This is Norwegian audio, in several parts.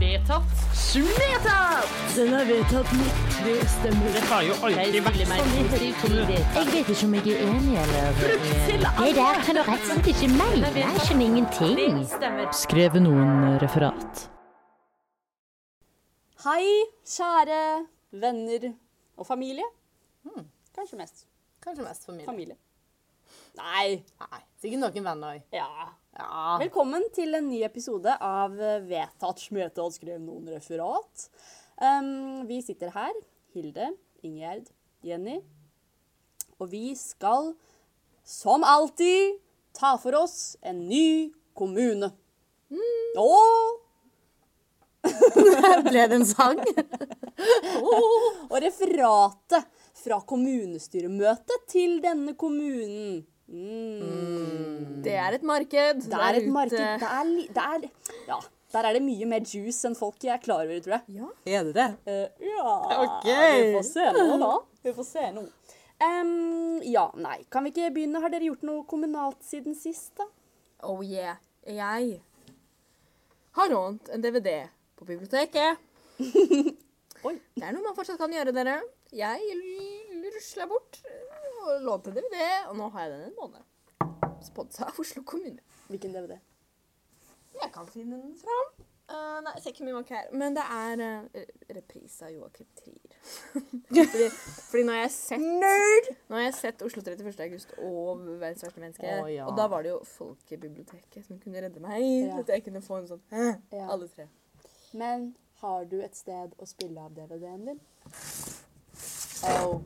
vedtatt. Vedtatt! Den er vedtatt med tre stemmer. Det har jo alltid vært sånn i hele kommunen. Jeg vet ikke om jeg er enig eller Det der kan du rett og slett ikke mene. Jeg skjønner ingenting. Stemmer. Skrev noen referat? Hei, kjære venner og familie. Kanskje mest Hmm. Kanskje mest familie. familie. Nei, Nei, sikkert noen venner òg. ja. Ja. Velkommen til en ny episode av Vedtatt smøte og skrev noen referat. Um, vi sitter her, Hilde, Ingjerd, Jenny, og vi skal som alltid ta for oss en ny kommune. Hmm. Og, Ble det en sang? og referatet fra kommunestyremøtet til denne kommunen. Mm. Det er et marked. Det er et marked. Det er, li- det er, ja, der er det mye mer juice enn folk er klar over, tror jeg. Er det det? Eh, ja Ok. Vi får se nå, da. Vi får se nå. Em, ja, nei. Kan vi ikke begynne? Har dere gjort noe kommunalt siden sist, da? Oh yeah. Jeg har lånt en DVD på biblioteket. Oi. Det er noe man fortsatt kan gjøre, dere. Jeg l- rusla bort og lånte en DVD, og nå har jeg den en måned. Sponsa av Oslo kommune. Hvilken DVD? Jeg kan finne den fram. Eh, nei, jeg ser ikke mye bak her. Men det er eh, reprise av Joakim Trier. fordi, fordi nå har jeg sett Nå har jeg sett Oslo 31. august og Verdens verste menneske. Å, ja. Og da var det jo Folkebiblioteket som kunne redde meg. Ja. At jeg kunne få en sånn Hæ? Ja. Alle tre. Men har du et sted å spille av DVD-en din? Oh,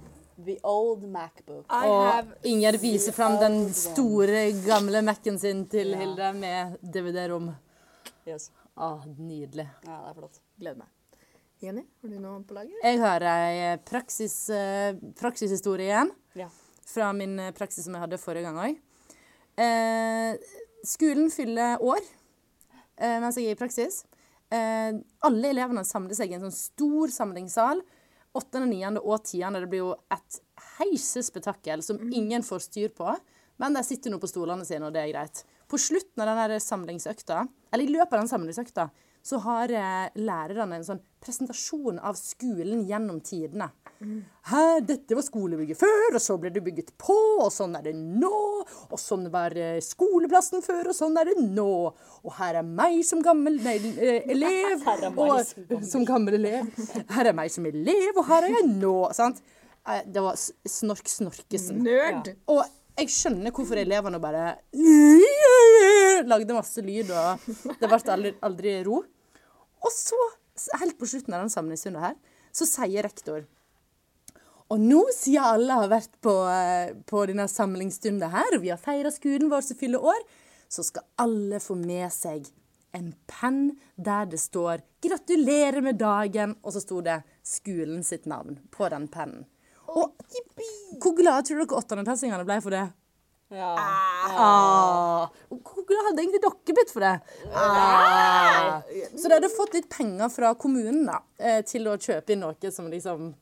The Old Macbook. I have Og Ingjerd viser fram den store, gamle Mac-en sin til Ja. Hilde med DVD-rom. Yes. Ah, nydelig. Ja, det er flott. Gleder meg. Jenny, har du noe på lager? Jeg har ei praksis, eh, praksishistorie igjen. Ja. Fra min eh, praksis som jeg hadde forrige gang òg. Eh, skolen fyller år eh, mens jeg er i praksis. Eh, alle elevene samler seg i en sånn stor samlingssal. 8., 9. og 10. Det blir jo et heisespetakkel som ingen får styr på. Men de sitter nå på stolene sine, og det er greit. På slutten av den her samlingsøkta, eller i løpet av den samlingsøkta, så har eh, lærerne en sånn presentasjon av skolen gjennom tidene. Her, dette var skolebygget før, og så ble det bygget på, og sånn er det nå. Og sånn var eh, skoleplassen før, og sånn er det nå. Og her er meg som gammel nei, eh, elev. Her er meg og, som gammel. som gammel elev. Her er meg som elev, og her er jeg nå. Sant? Eh, Det var S- Snork Snorkesen. Nerd! Og jeg skjønner hvorfor elevene bare lagde masse lyd, og det ble aldri, aldri ro. Og så, helt på slutten av den samlingsrunden her, så sier rektor og nå, siden alle har vært på, eh, på denne samlingsstunden her, og vi har feira skolen vår som fyller år, så skal alle få med seg en penn der det står 'Gratulerer med dagen', og så sto det skolen sitt navn på den pennen. Og hvor glade tror dere åttendeklassingene ble for det? Ja. Ah. Og Hvor glad hadde egentlig dere blitt for det? Ah. Så de hadde fått litt penger fra kommunen da, eh, til å kjøpe inn noe som liksom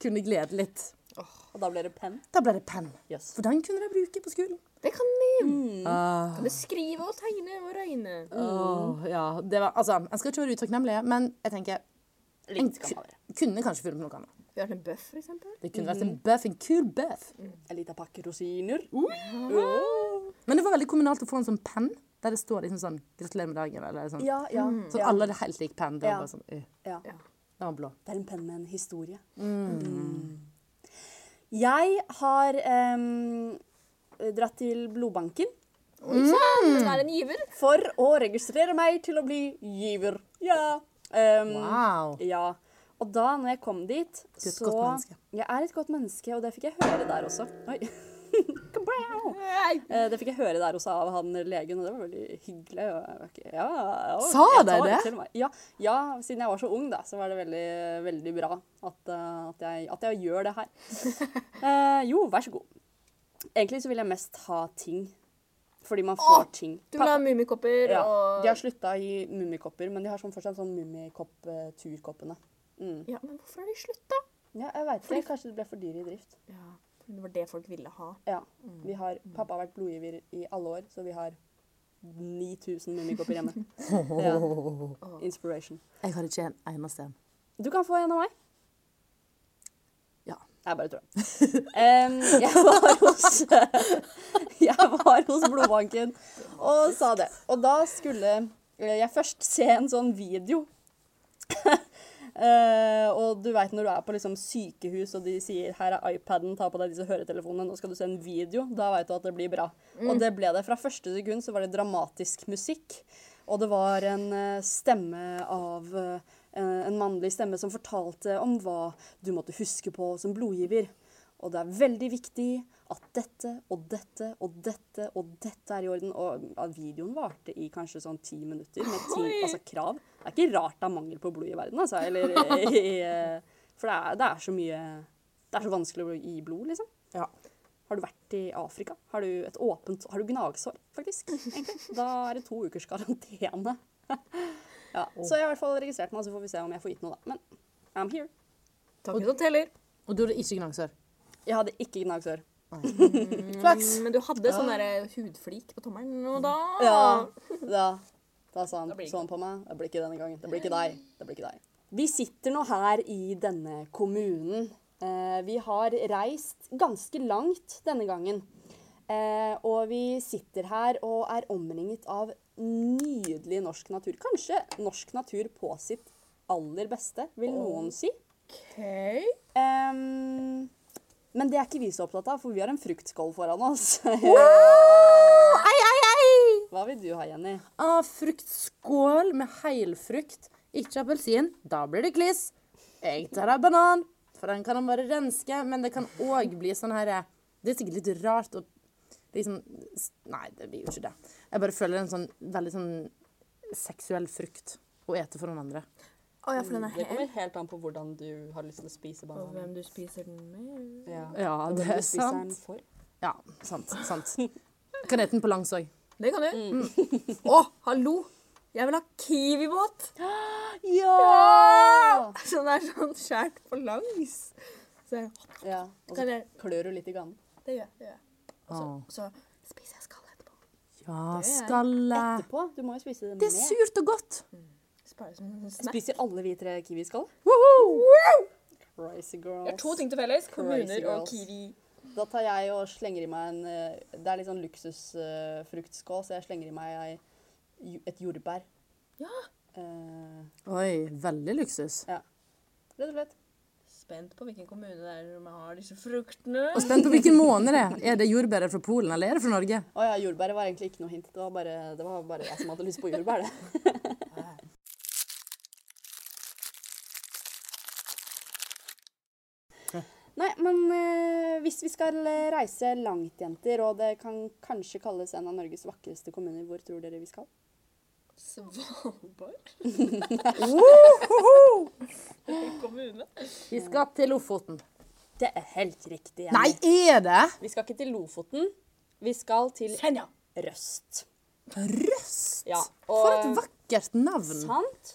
kunne glede litt. Og da ble det penn? Da ble det penn. Yes. For den kunne de bruke på skolen. Det kan vi! Kan vi skrive og tegne og regne? Åh, ja, det var, altså, jeg skal ikke være utakknemlig, men jeg tenker en Litt skal man være. ku- kunne kanskje funnet på noe annet. Vi har en bøff, for eksempel. Det kunne vært en bøff, en kul bøff. En liten pakke rosiner. Men det var veldig kommunalt å få en sånn penn der det står liksom sånn 'Gratulerer med dagen' eller sånn. Ja, ja. Så ja, alle hadde helt lik penn. Det Ja. var bare sånn, øh, ja. den var blå. Det er en penn med en historie. Mm. Jeg har em, dratt til blodbanken Oi sann! Den er en giver. for å registrere meg til å bli giver. Ja. Em, Wow. ja. Og da når jeg kom dit, er et så godt menneske. Jeg er et godt menneske, og det fikk jeg høre der også. Oi. Kabow! Eh, det fikk jeg høre der også av han legen, og det var veldig hyggelig. og jeg var ikke- Ja, ja, Sa jeg deg tar det? til meg. Ja, ja, siden jeg var så ung, da, så var det veldig, veldig bra at, eh, at, jeg, at jeg gjør det her. Eh, jo, vær så god. Egentlig så vil jeg mest ha ting. Fordi man får ting. Du vil ha mummikopper ja, og De har slutta å gi mummikopper, men de har sånn fortsatt sånn mummikopp-turkoppene. Ja, men hvorfor har de slutta? Ja, jeg veit ikke. Kanskje det ble for dyre i drift. Ja, for det var det folk ville ha. Mm. Ja. Vi har, pappa har vært blodgiver i alle år, så vi har 9000 mummikopper hjemme. Ja. Inspiration. Jeg har ikke en eneste en. Du kan få en av meg. Ja. Jeg bare tror det. Em, jeg, var hos, jeg var hos Blodbanken og sa det. Og da skulle eh, jeg først se en sånn video. Eh, og du veit når du er på liksom sykehus og de sier 'her er iPaden, ta på deg disse høretelefonene', nå skal du se en video, da veit du at det blir bra. Og det ble det. Fra første sekund så var det dramatisk musikk. Og det var en eh, stemme av eh, en mannlig stemme som fortalte om hva du måtte huske på som blodgiver. Og det er veldig viktig at dette og dette og dette og dette er i orden. Og ja, videoen varte i kanskje sånn ti minutter med ti altså, krav. Det er ikke rart det er mangel på blod i verden, altså. Eller, i, i- for det er, det er så mye Det er så vanskelig å gi blod, liksom. Ja. Har du vært i Afrika? Har du et åpent Har du gnagsår, faktisk? egentlig? Da er det to ukers karantene. Ja, så jeg har i hvert fall registrert meg, så får vi se om jeg får gitt noe, da. Men I'm here. Takk som teller. Og du hadde ikke gnagsår. Jeg hadde ikke gnagsår. Flaks. Men du hadde sånn der hudflik på tommelen, og da Ja. Da, da sa han blir det sånn på meg. Det blir ikke denne gangen. Det blir ikke deg. Det blir ikke deg. Vi sitter nå her i denne kommunen. Eh, vi har reist ganske langt denne gangen. Eh, og vi sitter her og er omringet av nydelig norsk natur. Kanskje norsk natur på sitt aller beste, vil noen si. OK. Ehm, men det er ikke vi så opptatt av, for vi har en fruktskål foran oss. Ei, ei, ei! Hva vil du ha, Jenny? Ah, fruktskål med helfrukt. Ikke appelsin. Da blir det kliss. Jeg tar ei banan, for den kan han bare renske. Men det kan òg bli sånn her Det er sikkert litt rart å liksom s- Nei, det blir jo ikke det. Jeg bare føler en sånn veldig sånn seksuell frukt å ete for noen andre. Å ja, for den er hel. helt an på hvordan du har lyst til å spise Og hvem du spiser den med. Ja, det er sant. Ja, sant. sant. Kan ete den på langs òg. Det kan du. Mm. Å, hallo! Jeg vil ha kiwibåt! Ja! Så den er sånn skjært på langs. Så jeg, ja! Og så kan jeg, klør du litt i ganen. det gjør jeg. det gjør jeg. Ah. Så spiser jeg skallet etterpå. Det Ja, er- Ah. skallet. Etterpå. Du må jo spise det Det er med. surt og godt. Sparer som en snack. Spiser alle vi tre kiwiskall? Crazy girls. Det er to ting til felles. Crazy Kommuner og girls. kiwi. Da tar jeg og slenger i meg en eh, Det er litt sånn luksusfruktskål, så jeg slenger i meg ei, ju- et jordbær. Ja. Eh, Oi, veldig luksus. rett og slett. Spent på hvilken kommune det er som har disse fruktene. Og spent på hvilken måned det er. Er det jordbæret fra Polen, eller er det fra Norge? Å ja, jordbæret var egentlig ikke noe hint. Det var bare, det var bare jeg som hadde lyst på jordbær, det. Nei, men eh, hvis vi skal eh, reise langt, jenter, og det kan kanskje kalles en av Norges vakreste kommuner, hvor tror dere vi skal? Svalbard Woho! kommune. Vi skal til Lofoten. Det er helt riktig. Nei, er det? Vi skal ikke til Lofoten. Vi skal til Senja. Røst. Røst! Ja, For og- et vakkert navn. Sant.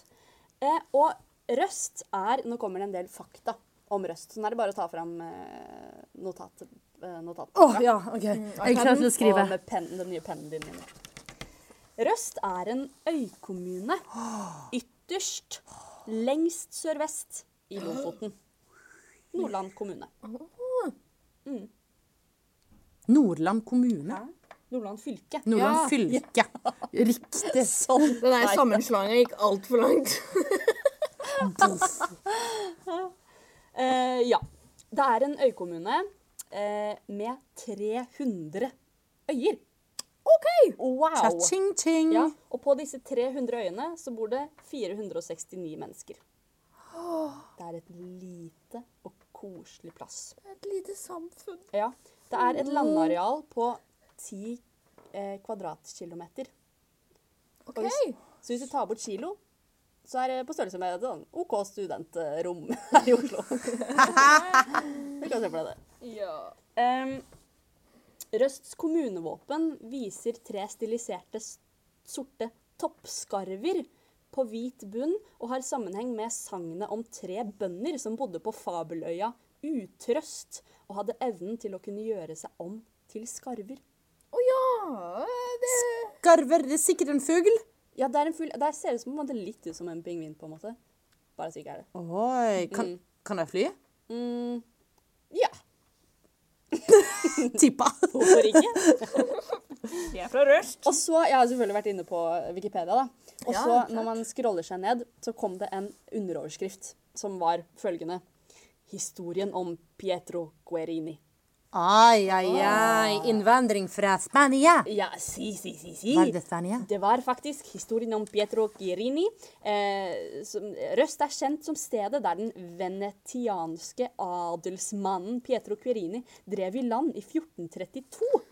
Eh, og røst er Nå kommer det en del fakta om røst. Sånn er det bare å ta fram eh, notat, eh, notat. Å ja, Mm, OK. Jeg er klar til å skrive. Og med pennen, den nye pennen din. Jenny. Røst er en øykommune ytterst lengst sørvest i Lofoten. Nordland kommune. Nordland kommune. Nordland fylke. Nordland fylke. Riktig. Sånn. Den der sammenslåinga gikk altfor langt. Boff. Eh, ja. Det er en øykommune eh, med 300 øyer. OK! Wow! Cha-ching-ching. Ja, og på disse 300 øyene så bor det 469 mennesker. Det er et lite og koselig plass. Et lite samfunn. Ja, det er et landareal på 10 eh, kvadratkilometer. OK. Så hvis du tar bort kilo, så er det på størrelse med et sånn OK studentrom her i Oslo. Vi kan se for deg det. Ja. Ehm, Røsts kommunevåpen viser tre stiliserte s- sorte toppskarver på hvit bunn og har sammenheng med sagnet om tre bønder som bodde på fabeløya Utrøst og hadde evnen til å kunne gjøre seg om til skarver. Å ja! Det Garver, det er sikkert en fugl. Ja, det er en fugl. Der ser det ut som, på en måte, litt ut som en pingvin, på en måte. Bare så ikke er det. Oi, kan, kan de fly? Ja, Tippa. hvorfor ikke? De er fra Røst. Og så, Jeg har selvfølgelig vært inne på Wikipedia. da. Og så, når man scroller seg ned, så kom det en underoverskrift som var følgende. Historien om Pietro Guerini. Ai, ai, ai. Innvandring fra Spania. Ja, si, si, si, si. Var det Spania? Det var faktisk historien om Pietro Guerini. Eh, som, Røst er kjent som stedet der den venetianske adelsmannen Pietro Guerini drev i land i 1432.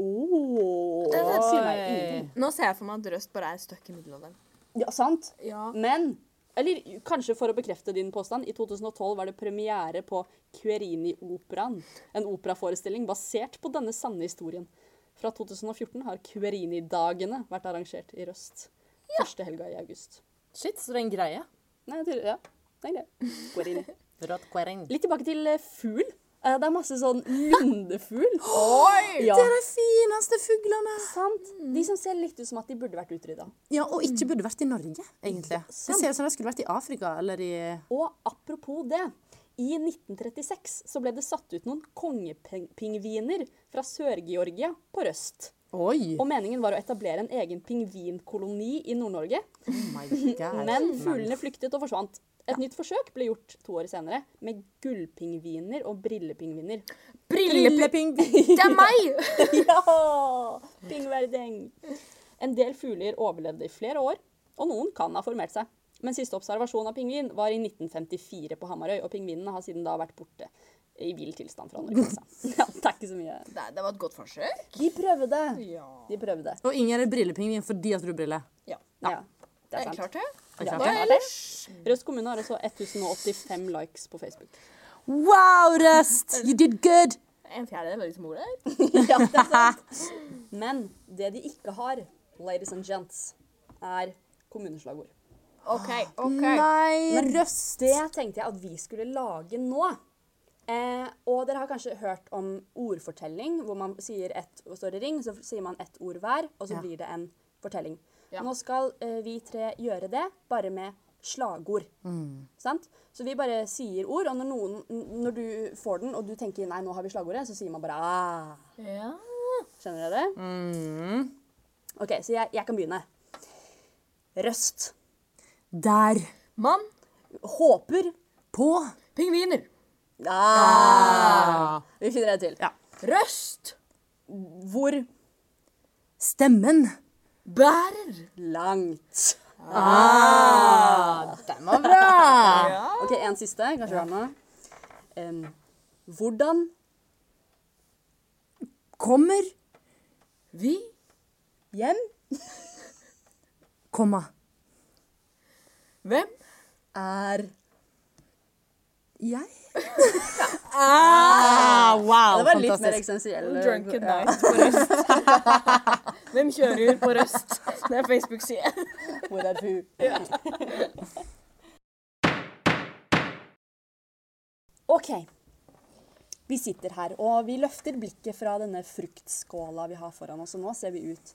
Oh, det sier meg ingenting. Nå ser jeg for meg at Røst bare er støkk i middelalderen. Ja, sant? Ja. Men Eller kanskje for å bekrefte din påstand, i 2012 var det premiere på Querini-operaen. En operaforestilling basert på denne sanne historien. Fra 2014 har Querini-dagene vært arrangert i Røst. Første helga i august. Shit, så det er en greie. Nei, til, ja. Nei, det. Querini. Rått kværing. Litt tilbake til eh, fugl. Eh, Det er masse sånn lundefugl. Oi! Ja, Det er de fineste fuglene. sant? De som ser litt ut som at de burde vært utrydda. Ja, og ikke burde vært i Norge, egentlig. Det ser ut som de skulle vært i Afrika eller i Og apropos det. I 1936 så ble det satt ut noen kongepingviner fra Sør-Georgia på Røst. Oi! Og meningen var å etablere en egen pingvinkoloni i Nord-Norge. Oh my god. Men fuglene flyktet og forsvant. Et nytt forsøk ble gjort to år senere med gullpingviner og brillepingviner. Brilleping! Det er meg! Ja! Pingverdeng! En del fugler overlevde i flere år, og noen kan ha formert seg. Men siste observasjon av pingvin var i 1954 på Hamarøy, og pingvinene har siden da vært borte i vill tilstand fra Norge. altså. Ja, det er ikke så mye. Det, det var et godt forsøk. De prøvde! Ja. De prøvde. Og ingen er brillepingvin fordi at du har briller. ja. Ja, det er Det er sant. Eh, klart det. Ja, klart det det. er det. Røst kommune har også 1085 likes på Facebook. Wow, Røst! You did good! En fjerdedel var ute som ordet. Ja, det er sant. Men det de ikke har, ladies and gents, er kommuneslagord. OK. ok. Nei, Røst! Det tenkte jeg at vi skulle lage nå. Eh, og dere har kanskje hørt om ordfortelling, hvor man sier ett og står i ring, så sier man ett ord hver, og så Ja. blir det en fortelling. Ja. Nå skal eh, vi tre gjøre det, bare med slagord. Sant? Så vi bare sier ord, og når, noen, n- når du får den, og du tenker nei, nå har vi slagordet, så sier man bare ah. Ja. Skjønner dere? OK, så jeg, jeg kan begynne. Røst. Der. Mann. Håper. På. Pingviner. Ah. Vi finner en til. Røst. Hvor Stemmen. Bærer. langt? Ah. Den var bra! OK, en siste. Kanskje vi har noe. Em, hvordan Kommer. Vi. hjem? Komma. Hvem? Er Jeg. ah, wow, Det var litt mer fantastisk. eksistensiell. Drunken night på Røst. Hvem kjører på Røst? Det er Facebook-side. Hvor er du? OK. Vi sitter her, og vi løfter blikket fra denne fruktskåla vi har foran oss. Og nå ser vi ut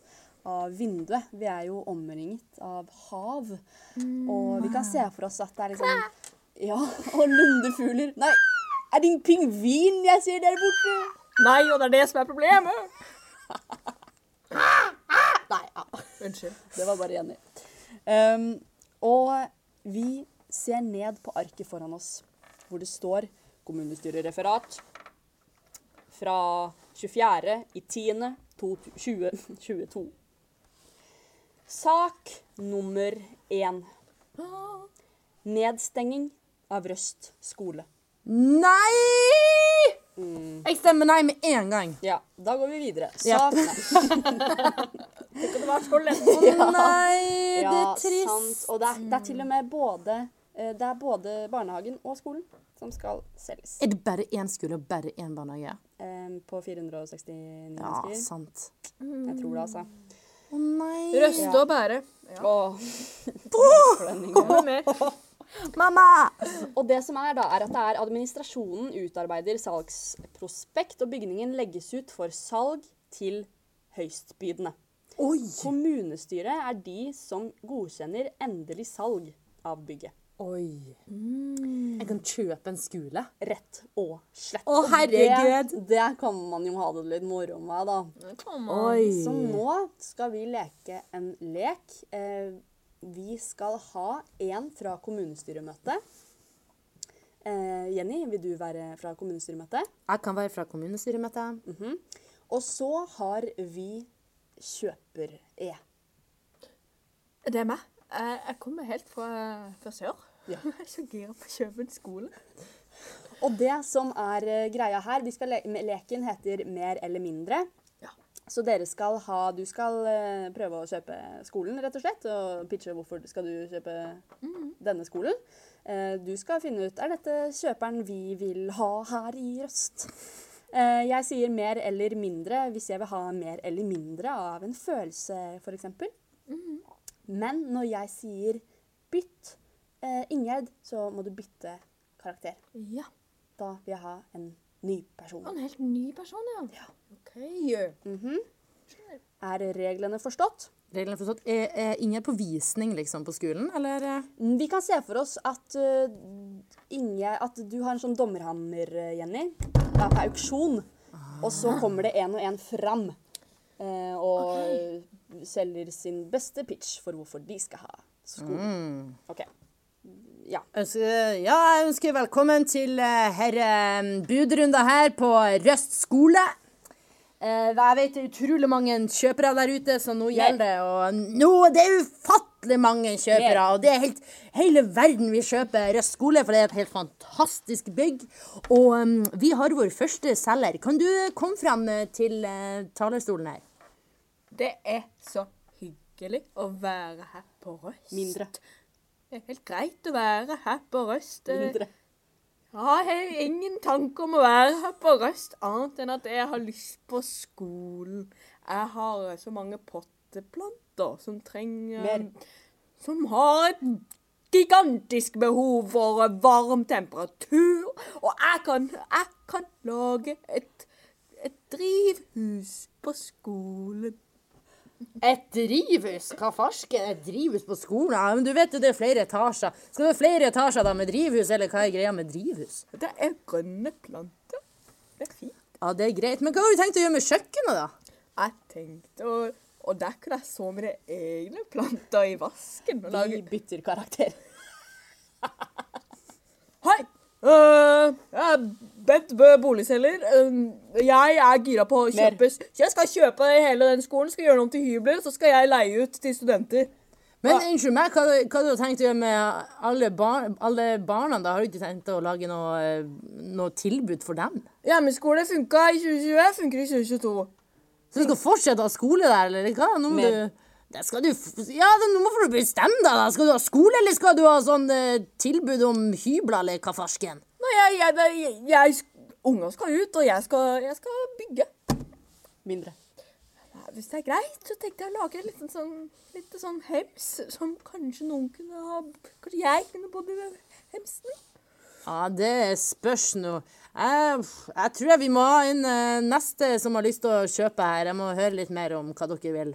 av vinduet. Vi er jo omringet av hav. Og vi kan se for oss at det er liksom Ja, og lundefugler. Nei, er det en pingvin jeg ser der borte? Nei, og det er det som er problemet. Nei, ja. Unnskyld. Det var bare Jenny. Um, og vi ser ned på arket foran oss, hvor det står kommunestyrereferat fra 24. i 10. 2022. Sak nummer én. Nedstenging av Røst skole. Nei! Jeg stemmer nei med en gang. Ja, da går vi videre. Ja. Sak Nei. Det var så lett. Nei, det er trist. Sant. Og det er, det er til og med både, eh, det er både barnehagen og skolen som skal selges Er det bare én skole og bare én barnehage? eh, på 469 Ja, mennesker. sant. Jeg tror det, altså. Å nei. Røste og bære. Ja. Åh. Hva mer? Mamma! Og det som er da, er at det er administrasjonen utarbeider salgsprospekt, og bygningen legges ut for salg til høystbydende. Oi! Kommunestyret er de som godkjenner endelig salg av bygget. Oi. Jeg kan kjøpe en skole. Rett og slett. Å, Og det- herregud. Det kan man jo ha det litt moro med, da. Kom an. Oi. Så nå skal vi leke en lek. Eh, vi skal ha en fra kommunestyremøtet. Eh, Jenny, vil du være fra kommunestyremøtet? Jeg kan være fra kommunestyremøtet. Og så har vi kjøper-E. Det er meg. Jeg, jeg kommer helt fra, fra sør. Ja. Jeg er så gira på å kjøpe en skole. Og det som er eh, greia her, vi skal le leken heter Mer eller mindre. Ja. Så dere skal ha, du skal eh, prøve å kjøpe skolen, rett og slett, og pitche hvorfor skal du kjøpe denne skolen. Eh, du skal finne ut, er dette kjøperen vi vil ha her i Røst? Eh, jeg sier mer eller mindre hvis jeg vil ha mer eller mindre av en følelse, for eksempel. Men når jeg sier bytt eh, Ingjerd, så må du bytte karakter. Ja. Da vil jeg ha en ny person. En helt ny person, ja. ja. OK. Er reglene forstått? Reglene er forstått. Er, er ingen på visning liksom, på skolen, eller? eh? Mm, Vi kan se for oss at, øh, Inge, at du har en sånn dommerhammer, øh, Jenny. Det er på auksjon. Og så kommer det en og en fram. eh, og selger sin beste pitch for hvorfor de skal ha skolen. OK. Ja. Ønsker, ja, jeg ønsker velkommen til eh, herre eh, budrunda her på Røst skole. Eh, Jeg vet det er utrolig mange kjøpere der ute, så nå gjelder det å Nå, det er ufattelig mange kjøpere, og det er helt Hele verden vil kjøpe Røst skole, for det er et helt fantastisk bygg. Og eh, vi har vår første selger. Kan du komme frem eh, til eh, talerstolen her? Det er så hyggelig å være her på Røst. Mindre. Det er helt greit å være her på Røst. Eh, Mindre. Ja, jeg har ingen tanke om å være her på Røst, annet enn at jeg har lyst på skolen. Jeg har eh, så mange potteplanter som trenger Mer. Som har et gigantisk behov for eh, varm temperatur. Og jeg kan, jeg kan lage et, et drivhus på skolen. Et drivhus? Hva farsken? Et drivhus på skolen? Ja, men du vet jo det er flere etasjer. Skal det være flere etasjer da med drivhus, eller hva er greia med drivhus? Det er grønne planter. Det er fint. Ja, det er greit, men hva har du tenkt å gjøre med kjøkkenet, da? Jeg tenkte å Og der kunne jeg så mine egne planter i vasken. og lage... Vi bytter karakter. Hei! Øh, jeg er Bent Bø boligselger. Øh, jeg er gira på å Mer. kjøpe Jeg skal kjøpe hele den skolen, skal gjøre den om til hybler, så skal jeg leie ut til studenter. Men unnskyld meg, hva, hva har du tenkt å gjøre med alle, bar alle barna, da? Har du ikke tenkt å lage noe, eh, noe tilbud for dem? Hjemmeskole funka i 2020, funker i 2022. Så du skal fortsette å ha skole der, eller hva? Nå må Men- du... Det skal du... f- Ja, det- nå må du bestemme deg, da. Skal du ha skole, eller skal du ha sånn eh, tilbud om hybler, eller hva farsken? Nei, jeg, jeg, jeg, jeg Unger skal ut, og jeg skal, jeg skal bygge. Mindre. Nei, Hvis det er greit, så tenkte jeg å lage et lite sånn, lite sånn hems som kanskje noen kunne ha Kanskje jeg kunne bodd i den hemsen? Ja, det spørs nå. Jeg, jeg tror jeg vi må ha inn eh, neste som har lyst til å kjøpe her. Jeg må høre litt mer om hva dere vil.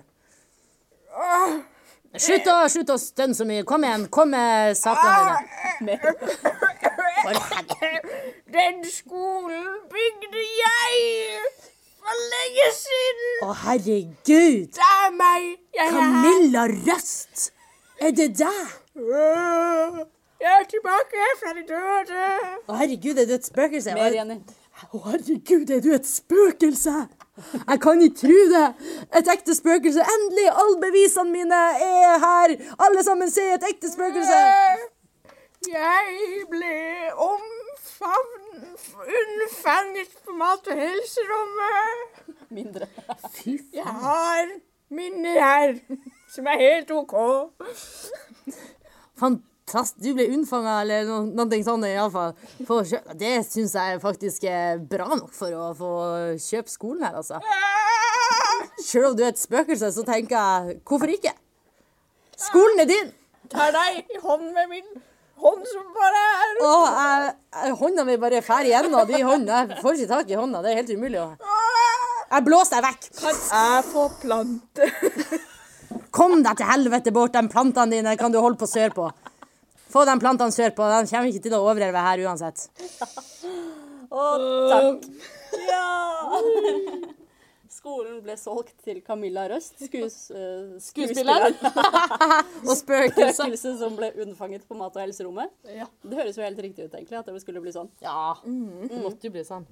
Slutt å, slutt å stønne så mye. Kom igjen, kom med sakene dine. Mer. Den skolen bygde jeg for lenge siden! Å, herregud! Det er meg! Jeg er, Camilla Røst! Er det deg? jeg er tilbake fra de døde! Å, herregud, er du et spøkelse? Mer, Jenny. Å, herregud, er du et spøkelse? Jeg kan ikke tro det! Et ekte spøkelse. Endelig! Alle bevisene mine er her! Alle sammen ser et ekte spøkelse! Jeg ble omfanget på mat- og helserommet. Mindre. Fy faen. Jeg har minner her som er helt OK. Fantastisk. Du ble unnfanga eller no noe sånt, iallfall. Det syns jeg faktisk er bra nok for å få kjøpe skolen her, altså. Sjøl om du er et spøkelse, så tenker jeg hvorfor ikke? Skolen er din! Tar deg i hånden med min hånd som bare er Og jeg, jeg, hånda mi bare fær igjennom de håndene. Jeg får ikke tak i hånda. Det er helt umulig å Ah! Jeg blåser deg vekk! Han er forplante. Kom deg til helvete bort! De plantene dine kan du holde på sørpå. Få de plantene sørpå. De kommer ikke til å overleve her uansett. Å, takk. Ja! Skolen ble solgt til Camilla Røst, skues, eh, skuespilleren. Og spøkelser. Spøkelset som ble unnfanget på mat- og helserommet. Det høres jo helt riktig ut, egentlig, at det skulle bli sånn. Ja. Måtte jo bli sånn.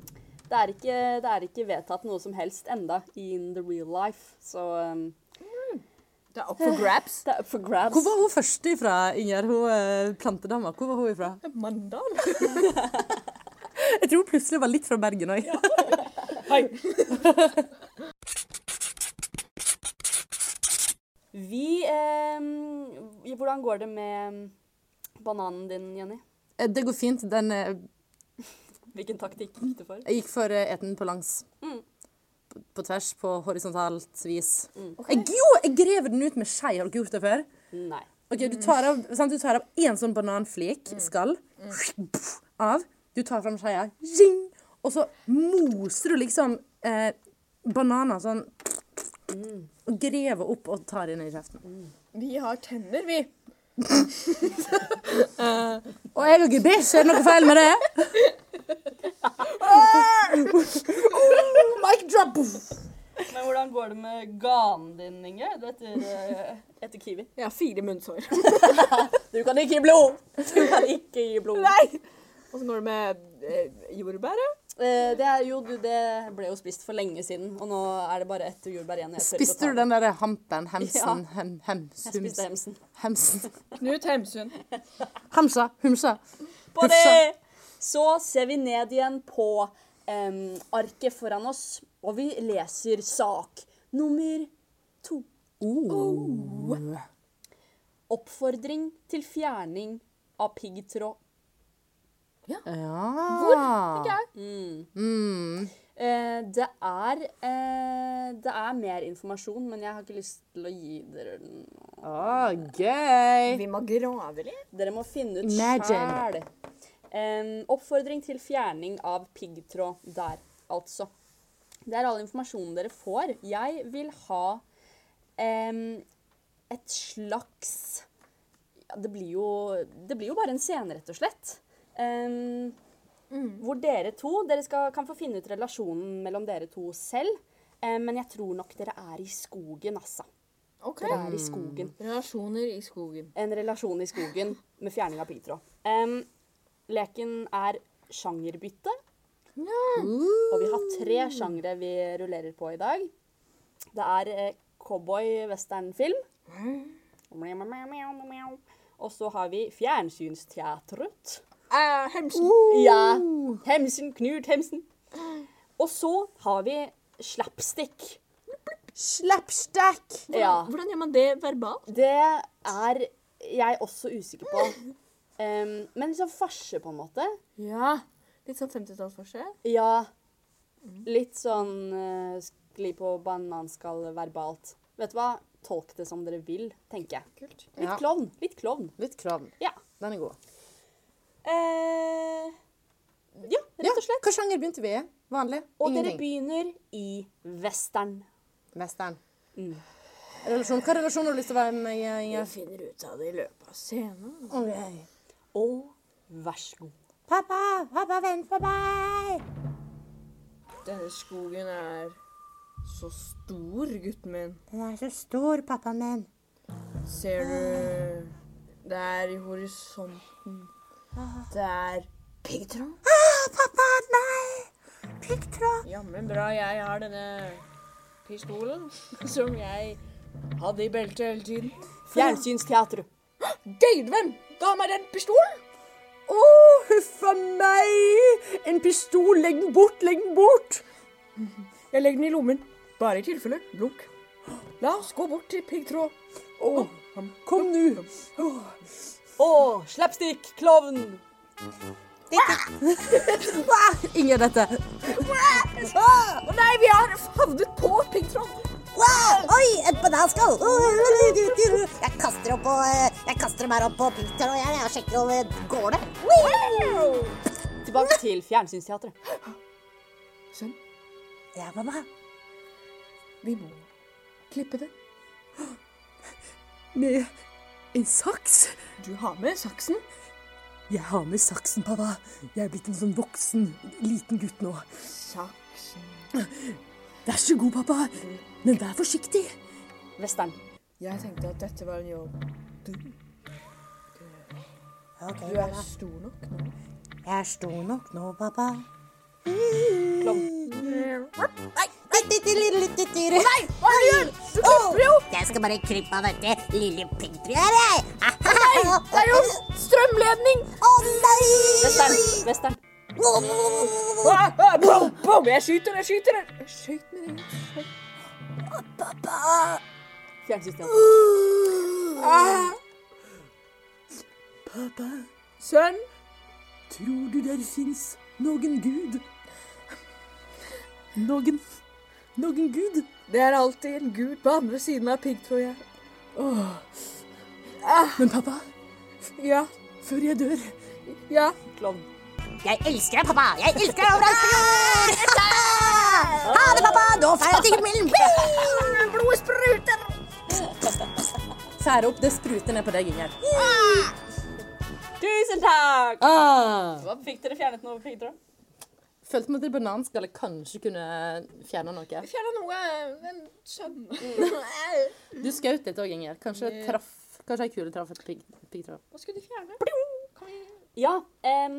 Det er ikke, det er ikke vedtatt noe som helst enda in the real life, så um, Det er opp for grabs. det er up for grabs. Hvor var hun først ifra, Inger? Hun eh, plantedama. Hvor var hun ifra? Mandal. Jeg tror hun plutselig var litt fra Bergen òg. Vi um, Hvordan går det med um, bananen din, Jenny? Det går fint. Den eh, Hvilken taktikk gikk du for? Jeg gikk for eh, eten på langs. På, på tvers, på horisontalt vis. Jeg, jo, jeg grev den ut med skei. Har dere gjort det før? Nei. Ok, Du tar av sant? Du tar av én sånn bananflik, skall, av. Du tar fram skeia, zing, og så moser du liksom eh, bananer sånn Og grever opp og tar inn i kjeften. Vi har tenner, vi. Og jeg og gebiss, er det noe feil med det? Mic drop! Men hvordan går det med ganen din, Inge, etter, eh, etter Kiwi? Jeg har fire munnsår. Du kan ikke gi blod! Du kan ikke gi blod. Nei! Og så går det med eh, jordbæret. Eh, det er jo, du, det ble jo spist for lenge siden, og nå er det bare ett jordbær igjen. Jeg tør ikke å ta Spiste du den derre hampen? Hemsen? Hem, hem, Jeg spiste hemsen. hemsen. Knut Hemsund. Hamsa, humsa. På Hufsa. det! Så ser vi ned igjen på em, arket foran oss, og vi leser sak nummer to. Oh. Oppfordring til fjerning av piggtråd. Ja. Eh, det er eh, Det er mer informasjon, men jeg har ikke lyst til å gi dere den. Ah, gøy! Vi må grave litt. Dere må finne ut sjæl. Imagine. Em, oppfordring til fjerning av piggtråd der, altså. Det er all informasjonen dere får. Jeg vil ha em, et slags ja, det, blir jo, det blir jo bare en scene, rett og slett. Em, Hvor dere to Dere skal, kan få finne ut relasjonen mellom dere to selv. em, men jeg tror nok dere er i skogen, altså. Ok. Dere er i skogen Relasjoner i skogen. en relasjon i skogen med fjerning av piggtråd. Em, leken er sjangerbytte. Og vi har tre sjangre vi rullerer på i dag. Det er eh, cowboy-westernfilm. Og så har vi fjernsynsteatret. Eh, Hemsund. Ja. Hemsen, Knut Hemsen. Og så har vi slapstick. Slapstack! Ja. Hvordan gjør man det verbalt? Det er jeg også usikker på. Em, men liksom farse, på en måte. Ja. Litt sånn 50-tallsforskjell. Ja. Litt sånn eh, skli på bananskall verbalt. Vet du hva? Tolk det som dere vil, tenker jeg. Kult. Litt Ja. klovn. Litt klovn. Litt kravl. Ja. Den er god. Eh, ja, rett og slett. Hva sjanger begynte vi i? Vanlig? Og dere Ingenting. begynner i western. Western. Mm. Relasjon. Hva relasjon har du lyst til å være med i, Inger? finner ut av det i løpet av scenen. Ok. Og vær så god. Pappa, pappa, vent på meg! Denne skogen er så stor, gutten min. Den er så stor, pappaen min. Ser du Det er i horisonten. Det er piggtråd. Ah, Pappa, nei! Piggtråd. Jammen bra jeg har denne pistolen som jeg hadde i beltet hele tiden. Fjernsynsteatret. Gaidven ga meg den pistolen! Å, huffa meg! En pistol, legg den bort, legg den bort! Jeg legger den i lommen. Bare i tilfelle. Blunk. La oss gå bort til piggtråd. Å, kom nå! Og slapstick, klovn. Ah, Inger, dette. Å nei, vi har havnet på piggtråd. Wow! Oi, et bananskall! Jeg kaster opp og eh, Jeg kaster dem her opp på piggtråd, og jeg, jeg sjekker om det går det. Tilbake til fjernsynsteatret. Sønn, Ja, mamma. Vi må klippe det. Med en saks? Du har med saksen. Jeg har med saksen, pappa. Jeg er blitt en sånn voksen, liten gutt nå. Saksen Vær så god, pappa. Men vær forsiktig. Western. Jeg tenkte at dette var en jobb. Du, Ok, du er stor nok nå. jeg er stor nok nå, pappa. Nei, hva er det du gjør? Du klipper jo! Jeg skal bare klippe av dette lille piggtryet her, jeg. Nei, det er jo Strømledning! Å nei! Western. Western. Ah, ah, boom, boom. Jeg skyter, jeg skyter! Jeg skjøt med det. Fjernsynsjenta. Ah. Pappa, Sønn, tror du der fins noen gud? Noen Noen gud? det er alltid en gud på andre siden av piggtrådet. Men pappa, Ah. Ja, før jeg dør ja. Klovn. Jeg elsker deg, pappa! Jeg elsker deg overalt på jord! Ah. Ha det, pappa! Nå drar jeg til himmelen! Woo! Blodet spruter! Skjær opp, det spruter ned på deg, Inger. Tusen takk! Ah. Hva, Fikk dere fjernet noe piggtråd? Følte meg til bananskallet kanskje kunne fjerne noe. Fjerne noe. Men sønn Du skjøt litt òg, Inger. Kanskje jeg traff Kanskje ei kule traff et pigg- piggtråd. Hva skulle du fjerne? Kom igjen. Ja. em,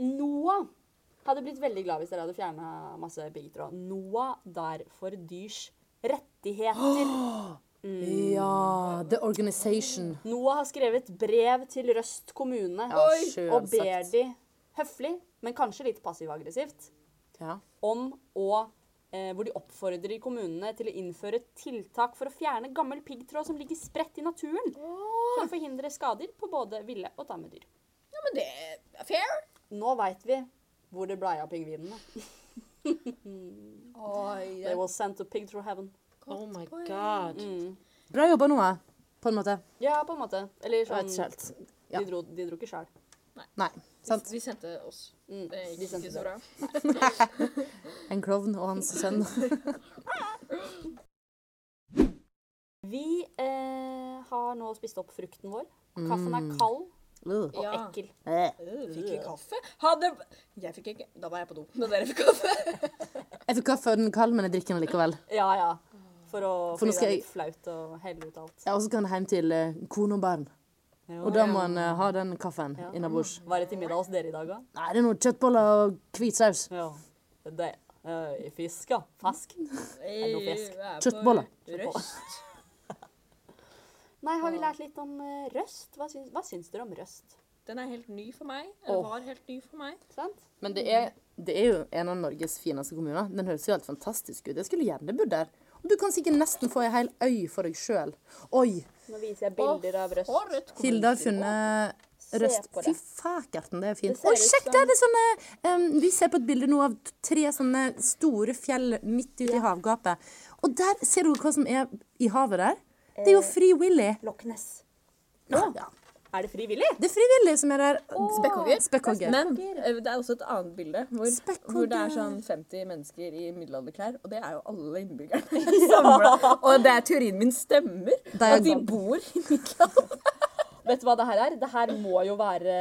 Noah hadde blitt veldig glad hvis dere hadde fjerna masse piggtråd. Noah der for dyrs rettigheter. Ja, The Organization. Noah har skrevet brev til Røst kommune Ja, og ber selvsagt. de høflig, men kanskje litt passiv-aggressivt, Ja. om å eh, hvor de oppfordrer kommunene til å innføre tiltak for å fjerne gammel piggtråd som ligger spredt i naturen, for å forhindre skader på både ville og tamme dyr. Ja, men det er fair. Nå veit vi hvor det blei av pingvinene. Oi, They was sent to pig through heaven. Oh my god. Bra jobba, Noah. På en måte. Mm. Ja, på en måte. Eller sånn Ja. de, dro, de dro ikke Mm. sjøl. Nei. Sant. De sendte oss. Det de gikk sendte ikke så bra. En klovn og hans sønn. Vi eh, har nå spist opp frukten vår. Kaffen er kald og Ugh. ekkel. Fikk vi kaffe? Hadde Jeg fikk ikke Da var jeg på do. Da dere fikk kaffe. Jeg fikk kaffe og den er kald, men jeg drikker den likevel. Ja, ja. For å For fordi nå det skal er jeg- litt flaut å helle ut alt. Ja, og så kan han hjem til eh, kone og barn. Og da må han eh, ha den kaffen innabords. Hva er det til middag hos dere i dag, da? Nei, det er noe kjøttboller og hvit saus. Ja. Det uh, Fisk, ja. Fisk. Er noe fisk? Kjøttboller. Røst. Nei, har vi lært litt om eh, røst? Hva syns, hva syns dere om røst? Den er helt ny for meg. Eller var helt ny for meg. Sant? Men det er, det er jo en av Norges fineste kommuner. Den høres jo helt fantastisk ut. Jeg skulle gjerne bodd der. Og du kan sikkert nesten få ei hel øy for deg sjøl. Oi! Nå viser jeg bilder av røst. Og rødt kom. Hilde har funnet røst. på Fy det. fakerten, det er fint. Det ser Oi, ut sjekk, som- der er det sånne em, Vi ser på et bilde nå av tre sånne store fjell midt ute i havgapet. Og der ser du hva som er i havet der. Det Eh. er jo Free Willy. Loch Ness. Ja. Er det frivillig? Det er Free Willy som er der. Spekkhogger. Spekkhogger. Men eh, det er også et annet bilde hvor, hvor Spekkhogger. det er sånn 50 mennesker i middelalderklær. Og det er jo alle innbyggerne samla. Og det er teorien min stemmer. er At de sant. bor i middelalder. Vet du hva det her er? Det her må jo være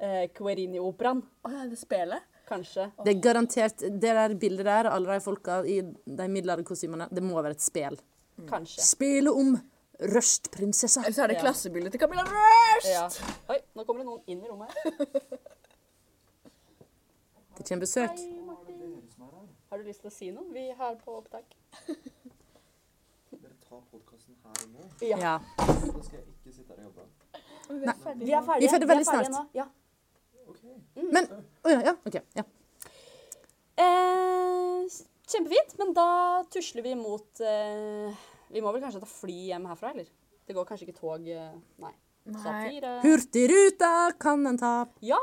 eh, Querini-operaen, Å ja, det spelet. kanskje. Det er garantert Det der bildet der, alle de folka i de middelalderkostymene, det må være et spel. Mm. Kanskje. Spelet om røstprinsessa. Eller så er det klassebildet til Camilla Rush! Ja. Oi, nå kommer det noen inn i rommet her. Det kommer besøk. Har du lyst til å si noe? Vi har på opptak. Dere tar podkasten her og nå, Ja. så skal jeg ikke sitte her og jobbe. Vi er ferdige. Vi er ferdige veldig snart. nå. Ja. Men Å ja, ja. OK. Ja. Eh, s- kjempefint, men da tusler vi mot eh, Vi må vel kanskje ta fly hjem herfra, eller? Det går kanskje ikke tog eh, Nei. Satire. Hurtigruta kan en ta. Ja!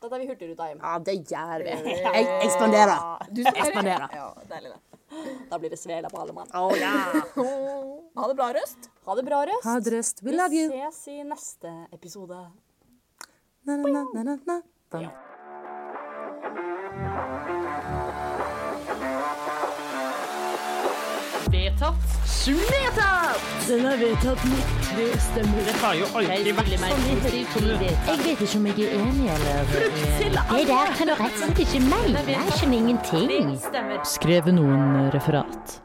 Da tar vi Hurtigruta hjem. Ja, det gjør vi. Jeg ekspanderer. Du skal Ekspanderer. Ja, deilig det. Da blir det svele på alle mann. Oh, ja. Ha det bra, Røst. Ha det bra, Røst. Ha det røst. We Vi love you. ses i neste episode. Na, na, na, na, na, na. Bam. Den er vedtatt med tre stemmer. Det har jo aldri vært sånn i hele Tone. Jeg vet ikke om jeg er enig eller uenig. Det der kan du rett og slett ikke mene. Jeg skjønner ingenting. Skrev noen referat.